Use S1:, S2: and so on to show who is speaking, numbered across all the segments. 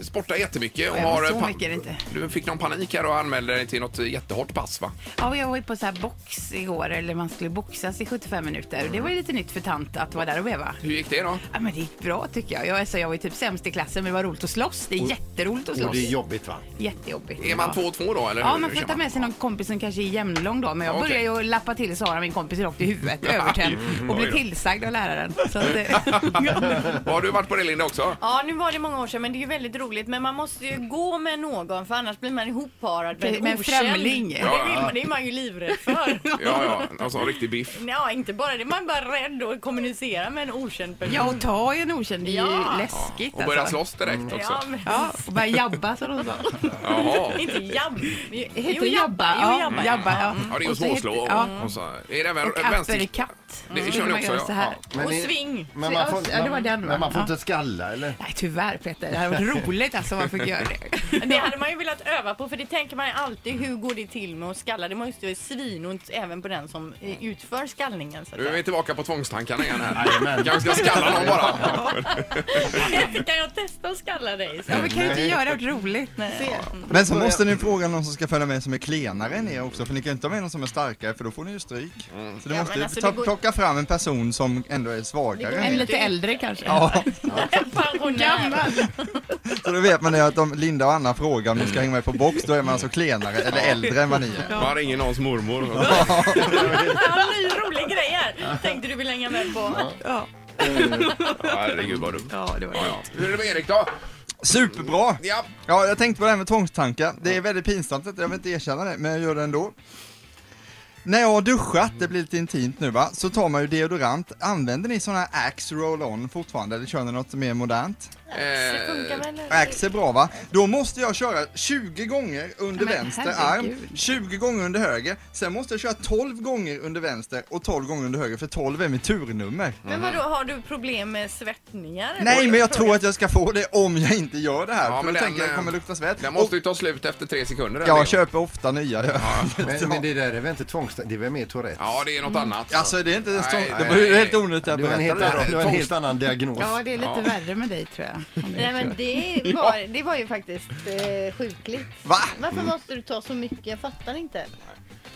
S1: sportar jättemycket. Och
S2: Ja,
S1: har
S2: så
S1: eh, pa-
S2: mycket är det inte.
S1: Du fick någon panik här och anmälde dig till något jättehårt pass va?
S2: Ja, jag var ju på så här box igår, eller man skulle boxas i 75 minuter. Det var ju lite nytt för tant att vara där och veva.
S1: Hur gick det då?
S2: Ja, men det gick bra tycker jag. Jag, alltså, jag var ju typ sämst i klassen, men det var roligt att slåss. Det är jätteroligt att
S3: Och
S2: slåss.
S3: det är jobbigt va?
S2: Jättejobbigt.
S1: Är man
S2: Ja.
S1: två och två då eller?
S2: Ja,
S1: hur-
S2: man
S1: hur
S2: får
S1: kör
S2: ta med sig någon kompis som kanske är jämnlång då. Men jag
S1: Ja, okej.
S2: började ju lappa till Sara, min kompis, rakt i huvudet, övertänd. Och
S1: Oj
S2: blev
S1: då.
S2: tillsagd av läraren. Så att, eh,
S1: Ja, Har du varit på det Linda också?
S4: Ja, nu var det många år sedan, men det är ju väldigt roligt. Men man måste ju gå med någon, för annars blir man ihopparad med
S2: Med en
S4: okänd.
S2: främling.
S4: Och Det, vill man, det är man ju livrädd för.
S1: Ja, ja, någon sån riktig biff.
S4: Ja, inte bara det. Man är bara rädd att kommunicera med en okänd person.
S2: ja, och ta i en okänd, det är ju
S4: Ja.
S2: läskigt
S1: Och börja
S2: alltså.
S1: slåss direkt också.
S4: Ja, men,
S2: Ja, och börja jabba som de sa.
S1: Jaha.
S4: Inte jabb.
S2: Heter det jabba?
S4: Jo,
S2: Ja,
S4: jabba.
S2: jabba, ja.
S1: Ja, det är ju
S2: Och så heter-
S1: småslå och,
S2: Ja,
S1: och så. Är det även
S2: och
S1: vänster...
S2: uppercut.
S1: Det kör
S2: skulle
S1: ni
S2: Mm. man
S1: också?
S2: göra
S1: Ja.
S2: så här.
S1: Ja.
S4: Och
S3: ni-
S4: sving.
S3: Men man får,
S2: Ja, det var den, va?
S3: men man får
S2: Ja.
S3: inte skalla eller?
S2: Nej, tyvärr Peter. Det hade varit roligt alltså om man fick göra det.
S4: Det hade man ju velat öva på för det tänker man ju alltid hur går det till med att skalla? Det måste ju vara svinont även på den som eh, utför skallningen. Så att
S1: Nu är vi
S4: säga.
S1: tillbaka på tvångstankarna igen här.
S3: Jajamän.
S1: Kanske ska skalla någon bara.
S4: Kan jag testa att skalla dig? Så.
S2: Ja, vi kan ju inte göra det roligt.
S5: Men så måste ni fråga någon som ska följa med som är klenare än er också, för ni kan ju inte ha med någon som är starkare för då får ni ju stryk. Så ni
S4: Ja,
S5: måste
S4: men
S5: ju
S4: alltså,
S5: ta,
S4: det går-
S5: plocka fram en person som ändå är
S4: Det
S5: svagare
S4: går
S5: än
S2: En
S5: er.
S2: lite äldre kanske.
S5: Ja,
S4: Pensionär.
S2: Gammal.
S5: så då vet man det att om Linda och Anna frågar om ni ska hänga med på box, då är man alltså klenare eller äldre än vad ni är.
S1: Man ringer någons mormor.
S4: Ja, ny rolig grej här. Tänkte du vill hänga med på.
S2: Ja,
S1: Herregud vad dumt.
S2: ja, det var
S1: Ja,
S2: det.
S1: ja. Hur är det med Erik då?
S5: Superbra!
S1: Ja.
S5: Ja, jag tänkte på det här med tvångstankar. Det är väldigt pinsamt, att jag vill inte erkänna det, men jag gör det ändå. När jag har duschat, det blir lite intimt nu va, så tar man ju deodorant. Använder ni sådana här Axe Roll-On fortfarande, eller kör ni något mer modernt?
S4: Det funkar
S1: Eh,
S4: väl?
S5: Axe är bra va? Då måste jag köra 20 gånger under
S2: Men
S5: vänster arm,
S2: herregud.
S5: 20 gånger under höger, sen måste jag köra 12 gånger under vänster och 12 gånger under höger, för 12 är mitt turnummer.
S4: Men vadå, har du problem med svettningar?
S5: Nej, men jag tror att jag ska få det om jag inte gör det här,
S1: Ja,
S5: för
S1: men
S5: då
S1: den,
S5: tänker jag att det
S1: eh,
S5: kommer lukta svett.
S1: den
S5: Och
S1: måste ju ta slut efter tre sekunder. eller?
S5: jag köper ofta nya. jag-
S3: Men, men det där är väl inte tvångstanke? Det är väl mer Tourettes?
S1: Ja, det är något annat.
S5: Alltså det är inte så,
S1: Nej,
S5: det
S1: nej,
S5: var ju
S1: nej.
S5: helt onödigt att
S3: det var
S5: jag
S3: en helt,
S5: berättade
S3: annan-
S5: det.
S3: det var en helt annan diagnos.
S2: Ja, det är lite värre med dig tror jag. Om det
S6: Nej
S2: är
S6: men
S2: så.
S6: det var, det var ju faktiskt eh, sjukligt.
S5: Va?
S6: Varför måste du ta så mycket? Jag fattar inte.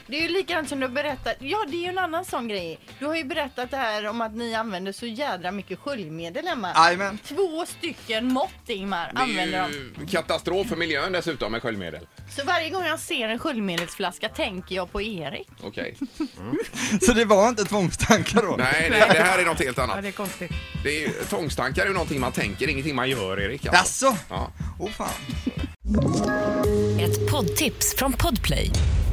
S4: Det är ju likadant som du har berättat. Ja, det är ju en annan sån grej. Du har ju berättat det här om att ni använder så jädra mycket sköljmedel hemma.
S5: Jajamän.
S4: Två stycken mått Ingmar
S1: det
S4: använder
S1: är
S4: de.
S1: ju katastrof för miljön dessutom med sköljmedel.
S4: Så varje gång jag ser en sköljmedelsflaska tänker jag på Erik.
S1: Okej.
S5: Så det var inte tvångstankar då?
S1: Nej, det, det här är något helt
S2: Ja,
S1: annat.
S2: det är konstigt.
S1: Det är, ju- tvångstankar är ju någonting man tänker, ingenting man gör Erik. alltså.
S5: Jaså?
S1: Ja.
S5: Åh fan.
S7: Ett poddtips från Podplay.